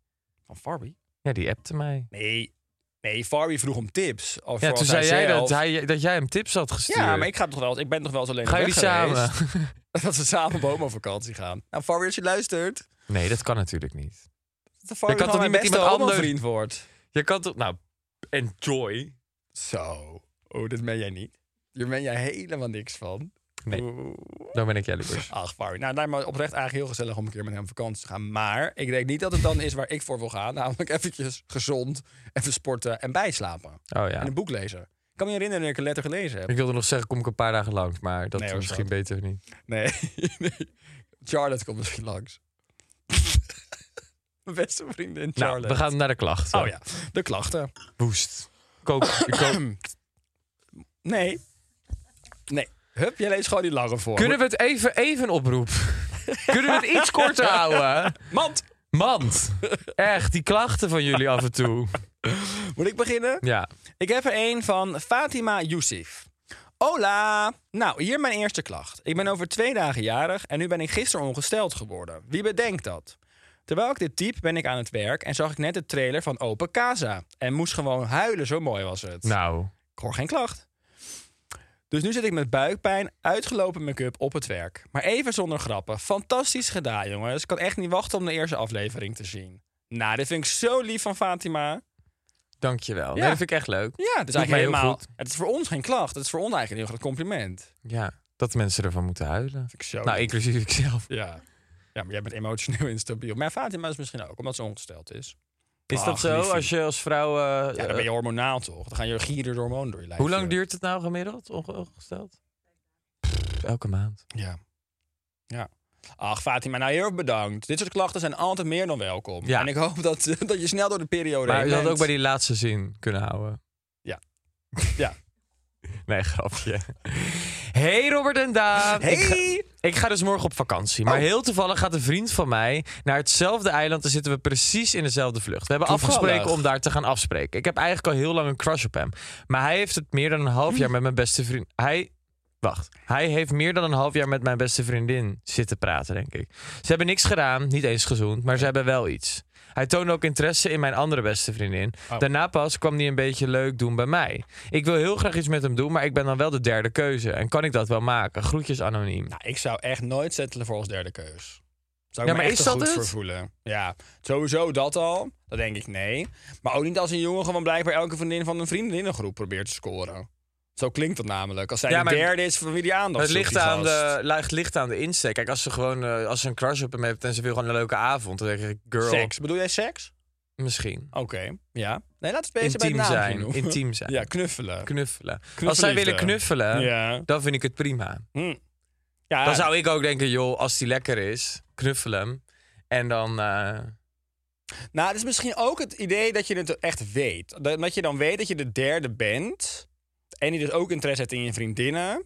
Speaker 2: Van Farby?
Speaker 3: Ja, die appte mij.
Speaker 2: Nee. Nee, Farby vroeg om tips. Of
Speaker 3: Ja,
Speaker 2: zoals
Speaker 3: toen zei jij
Speaker 2: zelf-
Speaker 3: dat, hij, dat jij hem tips had gestuurd.
Speaker 2: Ja, maar ik, ga toch wel, ik ben toch wel eens alleen
Speaker 3: Gaan
Speaker 2: op weg
Speaker 3: jullie samen?
Speaker 2: geweest. dat we samen op homo-vakantie gaan. Nou, Farby, als je luistert...
Speaker 3: nee, dat kan natuurlijk niet.
Speaker 2: Dat Farby
Speaker 3: Je
Speaker 2: gewoon
Speaker 3: kan toch niet
Speaker 2: mijn
Speaker 3: met
Speaker 2: beste
Speaker 3: iemand anders-
Speaker 2: homo-vriend wordt.
Speaker 3: Je kan toch... Nou, enjoy.
Speaker 2: Zo. Oh, dit meen jij niet. Hier meen jij helemaal niks van.
Speaker 3: Nee.
Speaker 2: Oeh.
Speaker 3: Dan ben ik jaloers.
Speaker 2: Ach, Farby. Nou, daar maar oprecht eigenlijk heel gezellig om een keer met hem op vakantie te gaan. Maar ik denk niet dat het dan is waar ik voor wil gaan. Namelijk eventjes gezond, even sporten en bijslapen.
Speaker 3: Oh ja.
Speaker 2: En een boek lezen. Ik kan me herinneren dat ik een letter gelezen heb.
Speaker 3: Ik wilde nog zeggen, kom ik een paar dagen langs. Maar dat
Speaker 2: Nee,
Speaker 3: is
Speaker 2: hoor,
Speaker 3: misschien
Speaker 2: schat.
Speaker 3: beter niet.
Speaker 2: Nee, nee. Charlotte komt misschien langs. Mijn beste vriendin
Speaker 3: Nou,
Speaker 2: Charlotte.
Speaker 3: we gaan naar de klachten.
Speaker 2: Oh ja, de klachten.
Speaker 3: Woest. Kook, kook,
Speaker 2: Nee. Nee. Hup, jij leest gewoon die lange voor.
Speaker 3: Kunnen we het even, even een oproep? Kunnen we het iets korter houden?
Speaker 2: Mand,
Speaker 3: Mand, echt, die klachten van jullie af en toe.
Speaker 2: moet ik beginnen?
Speaker 3: Ja,
Speaker 2: Ik heb er een van Fatima Youssef. Hola! Nou, hier mijn eerste klacht. Ik ben over twee dagen jarig en nu ben ik gisteren ongesteld geworden. Wie bedenkt dat? Terwijl ik dit type ben ik aan het werk en zag ik net de trailer van Open Casa. En moest gewoon huilen, zo mooi was het.
Speaker 3: nou,
Speaker 2: Ik hoor geen klacht. Dus nu zit ik met buikpijn, uitgelopen make-up op het werk. Maar even zonder grappen. Fantastisch gedaan, jongens. Ik kan echt niet wachten om de eerste aflevering te zien. Nou, dit vind ik zo lief van Fatima.
Speaker 3: dankjewel. Nee,
Speaker 2: Ja.
Speaker 3: dat vind ik echt leuk.
Speaker 2: Ja, het is
Speaker 3: Doet mij
Speaker 2: eigenlijk
Speaker 3: heel
Speaker 2: helemaal...
Speaker 3: goed.
Speaker 2: Het is voor ons geen klacht. Het is voor ons eigenlijk een heel groot compliment.
Speaker 3: Ja, dat mensen ervan moeten huilen.
Speaker 2: Vind ik zo
Speaker 3: Nou,
Speaker 2: lief.
Speaker 3: inclusief ikzelf.
Speaker 2: Ja. ja, maar jij bent emotioneel instabiel. Maar Fatima is misschien ook, omdat ze ongesteld is.
Speaker 3: Is
Speaker 2: Ach,
Speaker 3: dat zo,
Speaker 2: liefie.
Speaker 3: als je als vrouw... eh,
Speaker 2: Ja, dan ben je hormonaal toch? Dan gaan je gierder hormonen door je lijf.
Speaker 3: hoe lang duurt het nou gemiddeld, onge- ongesteld? Pff, elke maand.
Speaker 2: Ja. Ja. Ach, Fatima, nou heel erg bedankt. Dit soort klachten zijn altijd meer dan welkom.
Speaker 3: Ja.
Speaker 2: En ik hoop dat, eh, dat je snel door de periode
Speaker 3: Maar
Speaker 2: heen
Speaker 3: je had
Speaker 2: bent.
Speaker 3: ook bij die laatste zin kunnen houden.
Speaker 2: Oh, Ja. Ja.
Speaker 3: Nee, grapje. Hey Robert en Daan. Ik, ga, ik ga dus morgen op vakantie.
Speaker 2: Oh.
Speaker 3: Maar heel toevallig gaat een vriend van mij naar hetzelfde eiland. En zitten we precies in dezelfde vlucht. We hebben
Speaker 2: Toevallig.
Speaker 3: afgesproken om daar te gaan afspreken. Ik heb eigenlijk al heel lang een crush op hem. Maar hij heeft het meer dan een half
Speaker 2: Hm.
Speaker 3: jaar met mijn beste vriend. Hij. Wacht. Hij heeft meer dan een half jaar met mijn beste vriendin zitten praten, denk ik. Ze hebben niks gedaan, niet eens gezoend, maar ze hebben wel iets. Hij toonde ook interesse in mijn andere beste vriendin.
Speaker 2: Oh.
Speaker 3: Daarna pas kwam hij een beetje leuk doen bij mij. Ik wil heel graag iets met hem doen, maar ik ben dan wel de derde keuze. En kan ik dat wel maken? Groetjes anoniem.
Speaker 2: Nou, ik zou echt nooit settelen voor als derde keus. Zou ik
Speaker 3: Ja,
Speaker 2: me
Speaker 3: maar
Speaker 2: echt
Speaker 3: is
Speaker 2: te
Speaker 3: dat
Speaker 2: goed
Speaker 3: het?
Speaker 2: voor voelen. Ja, sowieso dat al. Dat denk ik nee. Maar ook niet als een jongen gewoon blijkbaar elke vriendin van een vriendinnengroep probeert te scoren. Zo klinkt dat namelijk. Als zij
Speaker 3: Ja,
Speaker 2: de
Speaker 3: maar-
Speaker 2: derde is van wie die aandacht
Speaker 3: Het
Speaker 2: zoekt,
Speaker 3: ligt,
Speaker 2: die
Speaker 3: aan
Speaker 2: gast.
Speaker 3: de, ligt- ligt aan de insteek. Kijk, als ze gewoon eh, als ze een crush op hem heeft en ze wil gewoon een leuke avond, dan denk ik, girl,
Speaker 2: Seks. Bedoel jij seks?
Speaker 3: misschien.
Speaker 2: Oké, ja. Nee, laat het beter bij het
Speaker 3: Intiem
Speaker 2: naampje
Speaker 3: zijn.
Speaker 2: noemen.
Speaker 3: Intiem zijn.
Speaker 2: Ja, knuffelen.
Speaker 3: Knuffelen. Als zij willen knuffelen,
Speaker 2: Ja.
Speaker 3: dan vind ik het prima.
Speaker 2: Hm. ja.
Speaker 3: Dan zou ik ook denken, joh, als die lekker is, knuffel hem. En dan... eh,
Speaker 2: Nou, het is misschien ook het idee dat je het echt weet. Dat dat je dan weet dat je de derde bent. En die dus ook interesse heeft in je vriendinnen.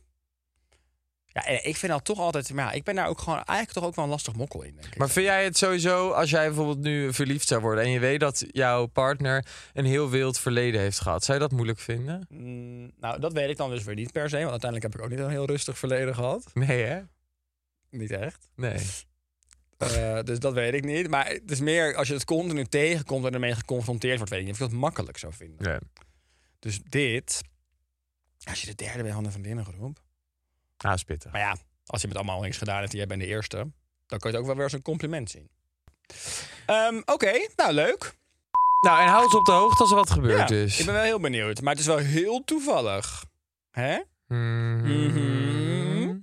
Speaker 2: Ja, en ik vind dat toch altijd... Maar ja, ik ben daar ook gewoon eigenlijk toch ook wel een lastig mokkel in, denk ik.
Speaker 3: Maar vind jij het sowieso, als jij bijvoorbeeld nu verliefd zou worden... en je weet dat jouw partner een heel wild verleden heeft gehad... zou je dat moeilijk vinden?
Speaker 2: Mm, nou, dat weet ik dan dus weer niet per se. Want uiteindelijk heb ik ook niet een heel rustig verleden gehad.
Speaker 3: Nee, hè?
Speaker 2: Niet echt.
Speaker 3: Nee. Oh.
Speaker 2: Eh, dus dat weet ik niet. Maar het is meer als je het continu tegenkomt en ermee geconfronteerd wordt. Weet ik niet of ik dat makkelijk zou vinden.
Speaker 3: nee.
Speaker 2: Dus dit... Als je de derde bent van de vriendinnengroep...
Speaker 3: Ah, spitten.
Speaker 2: Maar ja, als je met allemaal niks gedaan hebt en jij bent de eerste, dan kan je het ook wel weer als een compliment zien. Ehm, Oké, nou leuk.
Speaker 3: Nou, en hou ons op de hoogte als er wat
Speaker 2: Ja,
Speaker 3: dus. gebeurd is.
Speaker 2: Ik ben wel heel benieuwd, maar het is wel heel toevallig. Hè? Mhm.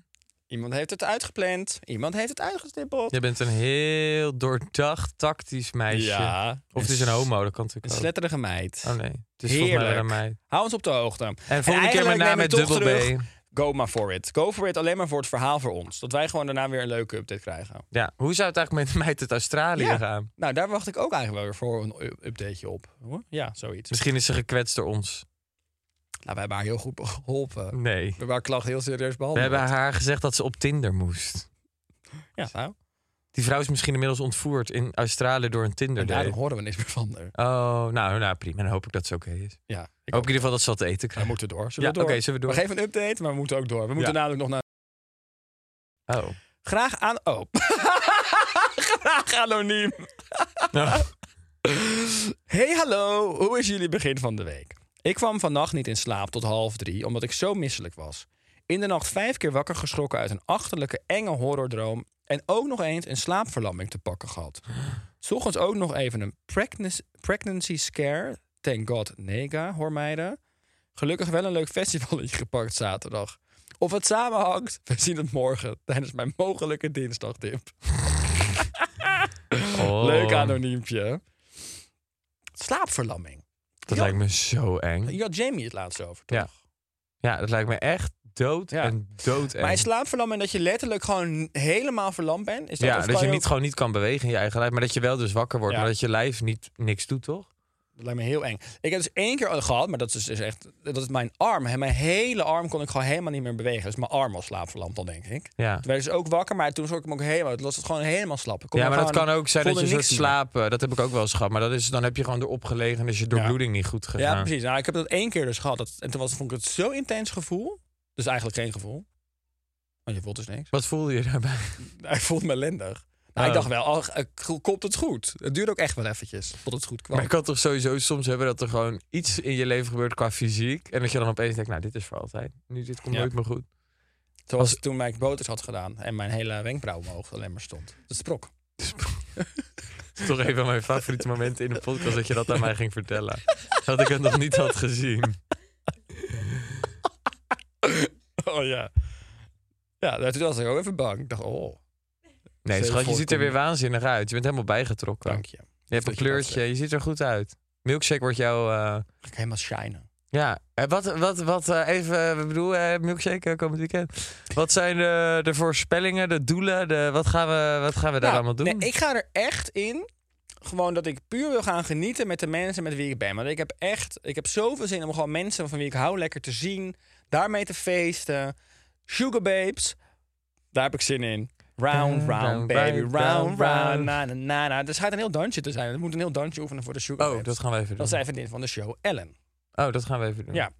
Speaker 2: Iemand heeft het uitgepland, iemand heeft het uitgestippeld.
Speaker 3: Je bent een heel doordacht, tactisch meisje.
Speaker 2: Ja.
Speaker 3: Of het is een homo, dat kan natuurlijk
Speaker 2: Een
Speaker 3: ook.
Speaker 2: sletterige meid.
Speaker 3: Oh nee, het is volgens mij wel
Speaker 2: Heerlijk.
Speaker 3: een meid.
Speaker 2: Hou ons op de hoogte. En
Speaker 3: En volgende keer
Speaker 2: eigenlijk
Speaker 3: met naam
Speaker 2: nemen
Speaker 3: met
Speaker 2: we toch
Speaker 3: dubbel B.
Speaker 2: terug, Go maar for it. Go for it alleen maar voor het verhaal voor ons. Dat wij gewoon daarna weer een leuke update krijgen.
Speaker 3: Ja, hoe zou het eigenlijk met mij tot Australië gaan?
Speaker 2: Nou, daar wacht ik ook eigenlijk wel weer voor een u- updateje op. hoor. Ja, zoiets.
Speaker 3: Misschien is ze gekwetst door ons.
Speaker 2: Nou, wij hebben haar heel goed geholpen.
Speaker 3: Nee.
Speaker 2: We hebben haar klacht heel serieus
Speaker 3: Mm. We
Speaker 2: behandeld.
Speaker 3: hebben haar gezegd dat ze op Tinder moest.
Speaker 2: Ja, nou.
Speaker 3: Die vrouw is misschien inmiddels ontvoerd in Australië door een Tinder
Speaker 2: En daarom
Speaker 3: date.
Speaker 2: horen we niks meer van haar.
Speaker 3: Oh, nou, nou prima. Dan hoop ik dat ze oké is.
Speaker 2: Ja, ik
Speaker 3: Ik hoop in ieder geval dat ze wat te eten
Speaker 2: We
Speaker 3: krijgt.
Speaker 2: moeten door. Zullen
Speaker 3: Oh. Ja,
Speaker 2: we door?
Speaker 3: oké, zullen we door?
Speaker 2: geven een update, maar we moeten ook door. We moeten
Speaker 3: Ja.
Speaker 2: namelijk nog naar...
Speaker 3: Oh.
Speaker 2: Graag aan... Oh. Graag anoniem.
Speaker 3: Nou,
Speaker 2: Hey, hallo. Hoe is jullie begin van de week? Ik kwam vannacht niet in slaap tot half drie, omdat ik zo misselijk was. In de nacht vijf keer wakker geschrokken uit een achterlijke enge horrordroom... en ook nog eens een slaapverlamming te pakken gehad. 's ochtends ook nog even een pregnancy, pregnancy scare. Thank God, nega, hoor meiden. Gelukkig wel een leuk festivalletje gepakt zaterdag. Of het samenhangt, we zien het morgen tijdens mijn mogelijke dinsdagdip.
Speaker 3: oh.
Speaker 2: Leuk anoniempje. Slaapverlamming.
Speaker 3: Dat
Speaker 2: Ja.
Speaker 3: lijkt me zo eng.
Speaker 2: Je had Jamie het laatst over, toch?
Speaker 3: Hm. Ja. Ja, dat lijkt me echt dood
Speaker 2: Ja.
Speaker 3: en dood
Speaker 2: Maar
Speaker 3: eng.
Speaker 2: is slaapverlamming dat je letterlijk gewoon helemaal verlamd bent? Is dat,
Speaker 3: Ja,
Speaker 2: of
Speaker 3: dat
Speaker 2: kan
Speaker 3: je
Speaker 2: ook-
Speaker 3: niet, gewoon niet kan bewegen in je eigen lijf. Maar dat je wel dus wakker wordt.
Speaker 2: Ja.
Speaker 3: Maar dat je lijf niet, niks doet, toch?
Speaker 2: Dat lijkt me heel eng. Ik heb dus één keer al gehad, maar dat is dus echt... Dat is mijn arm. hè, Mijn hele arm kon ik gewoon helemaal niet meer bewegen. Dus mijn arm was slaapverlamd dan, denk ik.
Speaker 3: Ja.
Speaker 2: Toen werd ik dus ook wakker, maar toen schrok ik me ook helemaal. Het was het gewoon helemaal slap. Ik kon
Speaker 3: Ja,
Speaker 2: me
Speaker 3: maar dat
Speaker 2: gewoon-
Speaker 3: kan ook zijn dat je
Speaker 2: voelde
Speaker 3: een soort
Speaker 2: niks meer.
Speaker 3: slapen. Dat heb ik ook wel eens gehad. Maar dat is, dan heb je gewoon erop gelegen en is je doorbloeding niet goed gegaan.
Speaker 2: Ja, precies. Nou, ik heb dat één keer dus gehad. Dat, en toen was, vond ik het zo intens gevoel. Dus eigenlijk geen gevoel. Want je voelt dus niks.
Speaker 3: Wat voelde je daarbij?
Speaker 2: Nou, ik voelde me ellendig. Nou, Ik
Speaker 3: Oh.
Speaker 2: dacht wel, ach, eh, k- komt het goed? Het duurde ook echt wel eventjes, tot het goed kwam.
Speaker 3: Maar ik kan toch sowieso soms hebben dat er gewoon iets in je leven gebeurt qua fysiek. En dat je dan opeens denkt, nou, dit is voor altijd. Nu, dit komt
Speaker 2: Ja.
Speaker 3: nooit meer goed.
Speaker 2: Zoals
Speaker 3: als-
Speaker 2: toen mijn boters had gedaan en mijn hele wenkbrauw omhoog alleen maar stond. Dat sprok.
Speaker 3: Het is toch een van mijn favoriete momenten in de podcast dat je dat aan mij ging vertellen. Dat ik het nog niet had gezien.
Speaker 2: Oh ja. Ja, nou, toen was ik ook even bang. Ik dacht, oh,
Speaker 3: Nee,
Speaker 2: Stel je
Speaker 3: schat, je
Speaker 2: voor,
Speaker 3: ziet er
Speaker 2: kom-
Speaker 3: weer waanzinnig uit. Je bent helemaal bijgetrokken.
Speaker 2: dank je.
Speaker 3: Je hebt een
Speaker 2: Dat je dat
Speaker 3: kleurtje, je ziet er goed uit. Milkshake wordt jouw... eh,
Speaker 2: Ga ik helemaal shinen.
Speaker 3: Ja, Eh, wat, wat, wat eh, even, eh, ik bedoel, eh, milkshake eh, komend weekend. Wat zijn de, de voorspellingen, de doelen, de, wat, gaan we, wat gaan we daar
Speaker 2: Nou,
Speaker 3: allemaal doen?
Speaker 2: Nee, ik ga er echt in. Gewoon dat ik puur wil gaan genieten met de mensen met wie ik ben. Want ik heb echt, ik heb zoveel zin om gewoon mensen van wie ik hou lekker te zien. Daarmee te feesten. Sugar Babes. Daar heb ik zin in. Round,
Speaker 3: Eh,
Speaker 2: round, baby,
Speaker 3: round,
Speaker 2: round, round,
Speaker 3: round, round.
Speaker 2: na, na, na, na. Er schijnt een heel dansje te zijn. Er moet een heel dansje oefenen voor de Sugar
Speaker 3: oh,
Speaker 2: Babes.
Speaker 3: dat gaan we even doen.
Speaker 2: Dat is even dit van de show Ellen.
Speaker 3: Oh, dat gaan we even doen.
Speaker 2: Ja.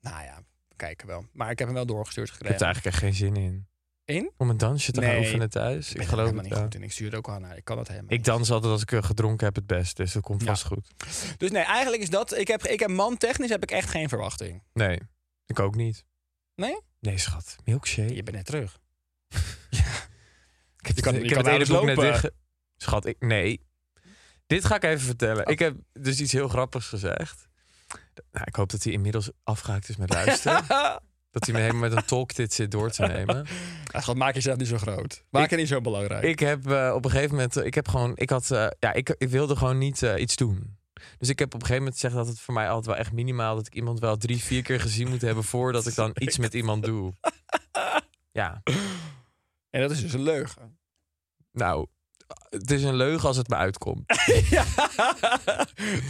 Speaker 2: Nou ja, we kijken wel. Maar ik heb hem wel doorgestuurd
Speaker 3: Ik heb
Speaker 2: gekregen.
Speaker 3: er eigenlijk echt geen zin in.
Speaker 2: In?
Speaker 3: Om een dansje te gaan
Speaker 2: Nee.
Speaker 3: oefenen thuis. Ik,
Speaker 2: ben er
Speaker 3: geloof
Speaker 2: helemaal
Speaker 3: het
Speaker 2: niet
Speaker 3: wel.
Speaker 2: goed in. Ik stuur het ook aan haar. Ik kan dat helemaal
Speaker 3: Ik
Speaker 2: niet.
Speaker 3: dans altijd als ik eh, gedronken heb het best, dus dat komt
Speaker 2: Ja.
Speaker 3: vast goed.
Speaker 2: Dus nee, eigenlijk is dat... Ik heb, ik heb man technisch heb ik echt geen verwachting.
Speaker 3: Nee, ik ook niet.
Speaker 2: Nee?
Speaker 3: Nee, schat. Milkshake.
Speaker 2: Je bent net terug.
Speaker 3: Ik heb,
Speaker 2: Je kan-
Speaker 3: het- Dus
Speaker 2: je
Speaker 3: ik heb
Speaker 2: kan
Speaker 3: het
Speaker 2: ouders
Speaker 3: hele boek net
Speaker 2: lopen.
Speaker 3: dicht. Schat, ik, nee. Dit ga ik even vertellen.
Speaker 2: Oh.
Speaker 3: Ik heb dus iets heel grappigs gezegd. Nou, ik hoop dat hij inmiddels afgehaakt is met luisteren. dat hij me helemaal met een talk dit zit door te nemen.
Speaker 2: Ja, schat, maak jezelf niet zo groot. Maak
Speaker 3: Ik-
Speaker 2: het niet zo belangrijk.
Speaker 3: Ik heb eh, op een gegeven moment, eh, ik heb gewoon, ik had, eh, ja, ik, ik wilde gewoon niet eh, iets doen. Dus ik heb op een gegeven moment gezegd dat het voor mij altijd wel echt minimaal dat ik iemand wel drie, vier keer gezien moet hebben voordat ik dan iets met iemand doe. Ja,
Speaker 2: En dat is dus een leugen.
Speaker 3: nou, het is een leugen als het me uitkomt.
Speaker 2: ja.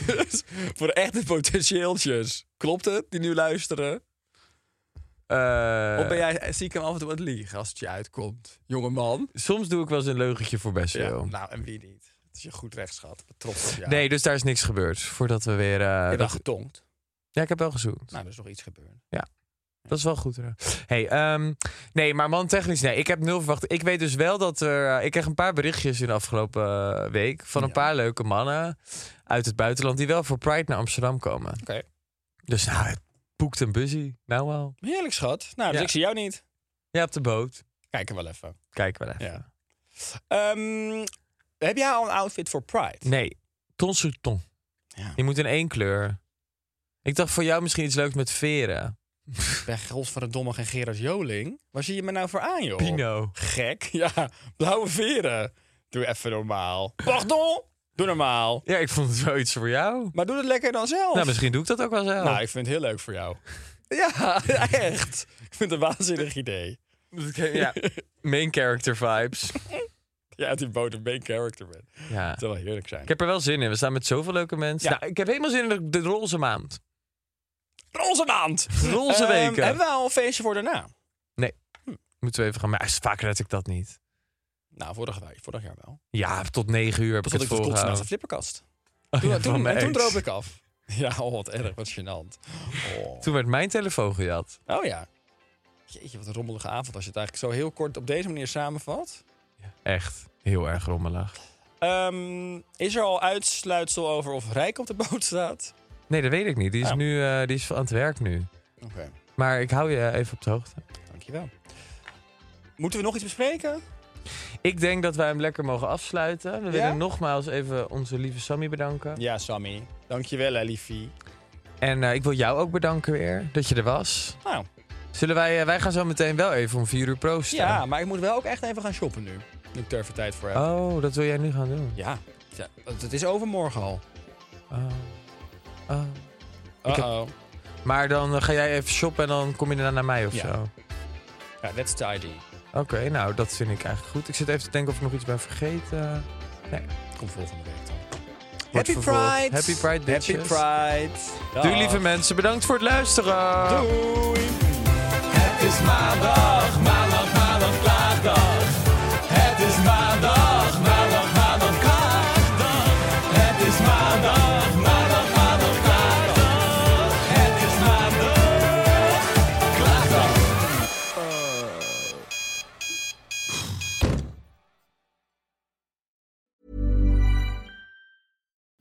Speaker 2: Dus voor de echte potentieeltjes. Klopt het, die nu luisteren?
Speaker 3: Eh,
Speaker 2: of ben jij ziek en af en toe aan het liegen als het je uitkomt? Jongeman.
Speaker 3: Soms doe ik wel eens een leugentje voor best
Speaker 2: Ja,
Speaker 3: veel.
Speaker 2: nou, en wie niet? Het is je goed rechtsschat. Trots op jou.
Speaker 3: Nee, dus daar is niks gebeurd. Voordat we weer. eh,
Speaker 2: Je bent
Speaker 3: dat-
Speaker 2: getongd.
Speaker 3: Ja, ik heb wel gezoend.
Speaker 2: Nou, er is nog iets gebeurd.
Speaker 3: Dat is wel goed. hè. Hey, ehm, nee, maar man, technisch, nee, ik heb nul verwacht. Ik weet dus wel dat er. eh, ik kreeg een paar berichtjes in de afgelopen eh, week van een
Speaker 2: Ja.
Speaker 3: paar leuke mannen uit het buitenland die wel voor Pride naar Amsterdam komen.
Speaker 2: Oké.
Speaker 3: Dus nou, het boekt een busy. Nou wel.
Speaker 2: Heerlijk, schat. Nou, dus
Speaker 3: Ja.
Speaker 2: ik zie jou niet.
Speaker 3: Ja, op de boot.
Speaker 2: Kijken wel even.
Speaker 3: Kijk wel even.
Speaker 2: Ja. Ehm, heb jij al een outfit voor Pride?
Speaker 3: Nee, ton sur ton.
Speaker 2: Ja.
Speaker 3: Je moet in één kleur. Ik dacht voor jou misschien iets leuks met veren.
Speaker 2: Ben Gols van de Domme en Gerard Joling. Waar zie je me nou voor aan, joh?
Speaker 3: Pino.
Speaker 2: Gek. Ja, blauwe veren. Doe even normaal. Pardon? Doe normaal.
Speaker 3: Ja, ik vond het wel iets voor jou.
Speaker 2: Maar doe het lekker dan zelf.
Speaker 3: Nou, misschien doe ik dat ook wel zelf.
Speaker 2: Oh. Nou, ik vind het heel leuk voor jou. Ja, echt. Ik vind het een waanzinnig idee.
Speaker 3: ja. Main character vibes.
Speaker 2: Ja, dat je boter main character bent.
Speaker 3: Ja.
Speaker 2: Het zou wel heerlijk zijn.
Speaker 3: Ik heb er wel zin in. We staan met zoveel leuke mensen.
Speaker 2: Ja.
Speaker 3: Nou, ik heb helemaal zin in de, de roze maand.
Speaker 2: roze maand.
Speaker 3: Roze
Speaker 2: Ehm,
Speaker 3: weken.
Speaker 2: Hebben we al een feestje voor daarna? Hm.
Speaker 3: Moeten we even gaan. Maar is- vaak red ik dat niet.
Speaker 2: Nou, vorig, wij- vorig jaar wel.
Speaker 3: Ja, tot negen uur heb
Speaker 2: Toen
Speaker 3: ik
Speaker 2: stond
Speaker 3: het
Speaker 2: ik tot kots naast de
Speaker 3: volgehouden.
Speaker 2: flipperkast.
Speaker 3: Oh,
Speaker 2: Toen,
Speaker 3: ja, van
Speaker 2: toen,
Speaker 3: mijn
Speaker 2: en toen
Speaker 3: ex.
Speaker 2: droop ik af. Ja, oh, wat erg, wat gênant. Oh.
Speaker 3: Toen werd mijn telefoon gejat.
Speaker 2: Oh ja. Jeetje, wat een rommelige avond als je het eigenlijk zo heel kort op deze manier samenvat.
Speaker 3: Echt heel erg rommelig.
Speaker 2: Ehm, is er al uitsluitsel over of Rijk op de boot staat?
Speaker 3: Nee, dat weet ik niet. Die is,
Speaker 2: Ja.
Speaker 3: nu, eh, die is aan het werk nu.
Speaker 2: Oké,
Speaker 3: Maar ik hou je even op de hoogte.
Speaker 2: dankjewel. Moeten we nog iets bespreken?
Speaker 3: Ik denk dat wij hem lekker mogen afsluiten. We
Speaker 2: Ja?
Speaker 3: willen nogmaals even onze lieve Sammy bedanken.
Speaker 2: Ja, Sammy. Dankjewel, hè, liefie.
Speaker 3: En eh, ik wil jou ook bedanken weer dat je er was.
Speaker 2: Nou,
Speaker 3: Zullen wij, eh, wij gaan zo meteen wel even om vier uur proosten.
Speaker 2: ja, maar ik moet wel ook echt even gaan shoppen nu. Nu ik er even tijd voor heb.
Speaker 3: Oh, dat wil jij nu gaan doen.
Speaker 2: Ja, ja, het het is overmorgen al.
Speaker 3: Oh. Oh. heb-
Speaker 2: Uh-oh.
Speaker 3: Maar dan eh, ga jij even shoppen en dan kom je daarna naar mij of
Speaker 2: Ja.
Speaker 3: zo.
Speaker 2: Ja, that's the idea.
Speaker 3: Oké, nou dat vind ik eigenlijk goed. Ik zit even te denken of ik nog iets ben vergeten.
Speaker 2: Kom volgende week dan.
Speaker 3: Wordt vervolgd. Happy Pride,
Speaker 2: Happy
Speaker 3: bitches.
Speaker 2: Pride.
Speaker 3: Doei lieve mensen, bedankt voor het luisteren.
Speaker 2: Doei.
Speaker 1: Het is maandag, maandag, maandag, klaagdag. Het is maandag, maandag, maandag, klaagdag. Het is maandag, maandag, maandag, klaagdag. Het is maandag, klaagdag.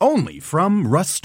Speaker 8: Only from Rust